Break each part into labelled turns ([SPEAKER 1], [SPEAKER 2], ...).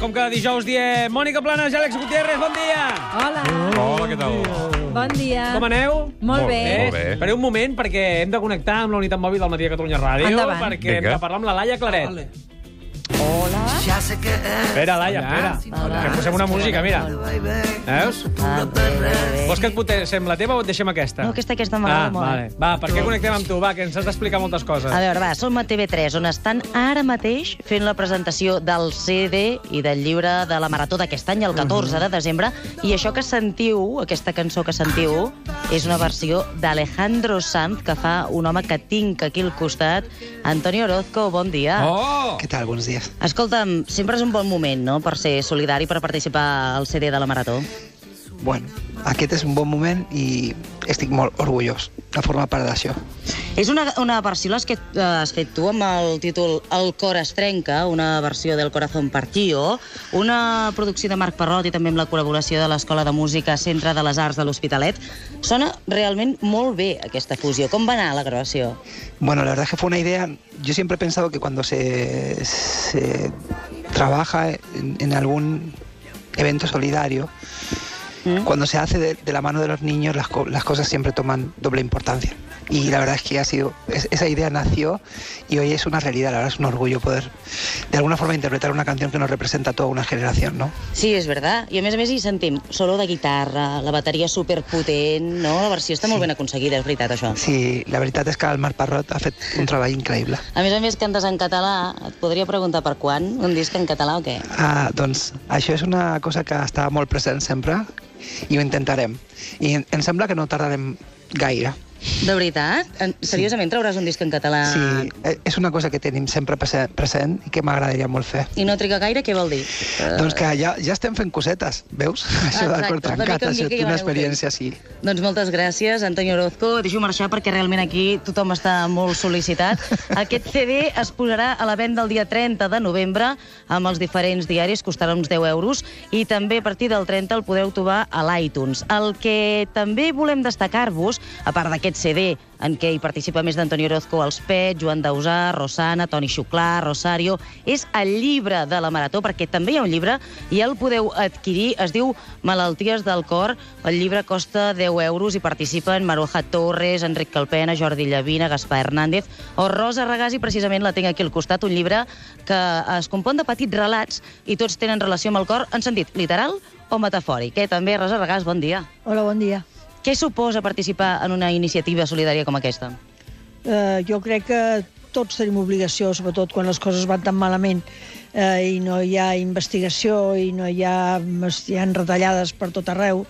[SPEAKER 1] com cada dijous, diem Mònica Planes i Àlex Gutiérrez, bon dia!
[SPEAKER 2] Hola,
[SPEAKER 3] Hola, què tal?
[SPEAKER 2] bon dia.
[SPEAKER 1] Com aneu? Eh,
[SPEAKER 2] Molt bé.
[SPEAKER 3] Molt bé.
[SPEAKER 1] Espereu un moment, perquè hem de connectar amb la unitat mòbil del Matí de Catalunya Ràdio,
[SPEAKER 2] Endavant.
[SPEAKER 1] perquè hem
[SPEAKER 3] Vinga.
[SPEAKER 1] de parlar amb la Laia Claret. Vale.
[SPEAKER 4] Ya sé que es
[SPEAKER 1] Espera, Laia, espera. Que et posem una música, mira. Veus?
[SPEAKER 5] Ah,
[SPEAKER 1] Vols que et potéssim la teva o et deixem aquesta?
[SPEAKER 5] No, aquesta- aquesta m'agrada
[SPEAKER 1] ah,
[SPEAKER 5] molt. eh.
[SPEAKER 1] Vale. Va, per què connectem amb tu? Va, que ens has d'explicar moltes coses.
[SPEAKER 5] A veure, va, som a TV3, on estan ara mateix fent la presentació del CD i del llibre de la Marató d'aquest any, el 14 de desembre, i això que sentiu, aquesta cançó que sentiu, és una versió d'Alejandro Sanz, que fa un home que tinc aquí al costat, Antonio Orozco, bon dia.
[SPEAKER 3] Oh!
[SPEAKER 4] ¿Qué tal? Buenos días.
[SPEAKER 5] Escolta'm, sempre és un bon moment, no?, per ser solidari, per participar al CD de la Marató.
[SPEAKER 4] Bueno, aquest és un bon moment i estic molt orgullós de formar part d'això.
[SPEAKER 5] És una, una versió les que eh, has fet tu amb el títol El cor es trenca, una versió del Corazón Partió, una producció de Marc Parrot i també amb la col·laboració de l'Escola de Música Centre de les Arts de l'Hospitalet. Sona realment molt bé aquesta fusió. Com va anar la gravació?
[SPEAKER 4] Bueno, la verdad es que fue una idea. Yo siempre he pensado que cuando se, se trabaja en, en algún evento solidario,
[SPEAKER 5] Mm.
[SPEAKER 4] cuando se hace de, de la mano de los niños, las, co- las cosas siempre toman doble importancia. Y la verdad es que ha sido, es- esa idea nació y hoy es una realidad. La verdad es un orgullo poder, de alguna forma, interpretar una canción que nos representa a toda una generación, ¿no?
[SPEAKER 5] Sí, és verdad. I a més a més hi sentim solo de guitarra, la bateria superpotent, no? La versió està molt ben aconseguida, és veritat, això.
[SPEAKER 4] Sí, la veritat és que el Marc Parrot ha fet un treball increïble.
[SPEAKER 5] A més a més, cantes en català. Et podria preguntar per quan? Un disc en català o què?
[SPEAKER 4] Ah, doncs això és una cosa que està molt present sempre i ho intentarem. I em- em sembla que no tardarem gaire.
[SPEAKER 5] De veritat? En- Seriosament trauràs un disc en català?
[SPEAKER 4] Sí, eh, és una cosa que tenim sempre prese- present i que m'agradaria molt fer.
[SPEAKER 5] I no triga gaire, què vol dir? Eh,
[SPEAKER 4] Doncs que ja, ja estem fent cosetes, veus? Això del
[SPEAKER 5] Exacte,
[SPEAKER 4] cor
[SPEAKER 5] una mica
[SPEAKER 4] trencat
[SPEAKER 5] em
[SPEAKER 4] ha
[SPEAKER 5] dic
[SPEAKER 4] sigut
[SPEAKER 5] que ja
[SPEAKER 4] una
[SPEAKER 5] m'aneu fent.
[SPEAKER 4] experiència, sí.
[SPEAKER 5] Doncs moltes gràcies, Antonio Orozco. Et Deixo marxar perquè realment aquí tothom està molt sol·licitat. Aquest CD es posarà a la venda el dia 30 de novembre amb els diferents diaris, costarà uns 10 euros, i també a partir del 30 el podeu trobar a l'iTunes. El que també volem destacar-vos, a part d'aquest CD en què hi participa més d'Antonio Orozco als Pet, Joan Dausà, Rosana, Toni Xuclà, Rosario, és el llibre de la Marató, perquè també hi ha un llibre i el podeu adquirir, es diu Malalties del cor, el llibre costa 10 euros i participen Maruja Torres, Enric Calpena, Jordi Llavina, Gaspar Hernández o Rosa Regàs, i precisament la tinc aquí al costat, un llibre que es compon de petits relats i tots tenen relació amb el cor en sentit literal o metafòric. Eh? També, Rosa Regàs, bon dia.
[SPEAKER 6] Hola, bon dia.
[SPEAKER 5] Què suposa participar en una iniciativa solidària com aquesta?
[SPEAKER 6] Eh, jo crec que tots tenim obligació, sobretot quan les coses van tan malament eh, i no hi ha investigació i no hi ha, hi ha retallades per tot arreu,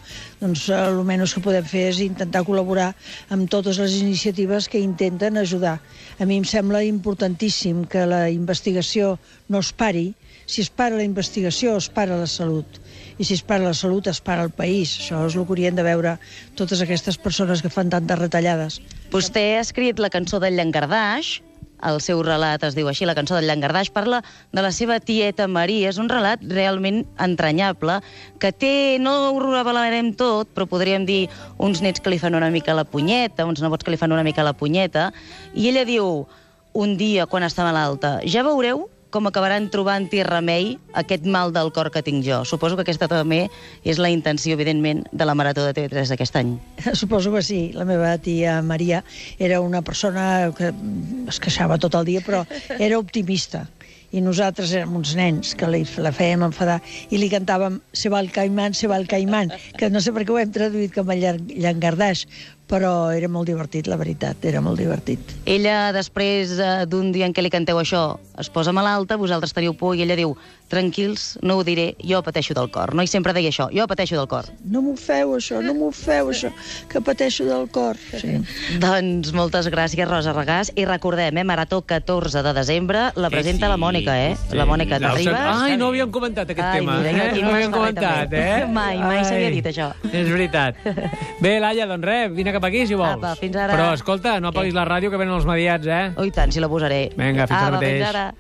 [SPEAKER 6] doncs eh, el menys que podem fer és intentar col·laborar amb totes les iniciatives que intenten ajudar. A mi em sembla importantíssim que la investigació no es pari. Si es para la investigació, es para la salut. i si es para la salut es para el país. Això és el que haurien de veure totes aquestes persones que fan tantes retallades.
[SPEAKER 5] Vostè ha escrit la cançó del Llangardaix, el seu relat es diu així, la cançó del Llangardaix parla de la seva tieta Maria. És un relat realment entranyable, que té, no ho revelarem tot, però podríem dir uns nets que li fan una mica la punyeta, uns nebots que li fan una mica la punyeta, i ella diu, un dia, quan està malalta, ja veureu com acabaran trobant-hi remei a aquest mal del cor que tinc jo. Suposo que aquesta també és la intenció, evidentment, de la Marató de TV3 d'aquest any.
[SPEAKER 6] Suposo que sí. La meva tia Maria era una persona que mm, es queixava tot el dia, però era optimista. I nosaltres érem uns nens que li, la fèiem enfadar i li cantàvem Se va el caimán, se va el caimán, que no sé per què ho hem traduït com a llan- llangardaix, però era molt divertit, la veritat, era molt divertit.
[SPEAKER 5] Ella, després eh, d'un dia en què li canteu això, es posa malalta, vosaltres teniu por, i ella diu, tranquils, no ho diré, jo pateixo del cor. No? I sempre deia això, jo pateixo del cor.
[SPEAKER 6] No m'ho feu, això, no m'ho feu, això, que pateixo del cor. Sí.
[SPEAKER 5] Doncs moltes gràcies, Rosa Regàs. I recordem, eh, Marató 14 de desembre, la presenta la Mònica, eh? La Mònica, t'arribes?
[SPEAKER 1] Ai, no havíem comentat aquest
[SPEAKER 5] Ai,
[SPEAKER 1] tema.
[SPEAKER 5] mira, jo
[SPEAKER 1] eh?
[SPEAKER 5] aquí
[SPEAKER 1] No
[SPEAKER 5] m'has
[SPEAKER 1] havíem
[SPEAKER 5] parlat
[SPEAKER 1] comentat,
[SPEAKER 5] també.
[SPEAKER 1] eh?
[SPEAKER 5] Mai, mai s'havia
[SPEAKER 1] Ai.
[SPEAKER 5] dit això.
[SPEAKER 1] És veritat. Bé, Laia, doncs res, vine cap aquí si vols.
[SPEAKER 5] Apa, fins ara.
[SPEAKER 1] Però escolta, no apaguis la ràdio que venen els mediats, eh?
[SPEAKER 5] Oh, i tant, si la posaré.
[SPEAKER 1] Vinga, fins
[SPEAKER 5] ah,
[SPEAKER 1] ara
[SPEAKER 5] va,
[SPEAKER 1] mateix.
[SPEAKER 5] Fins ara.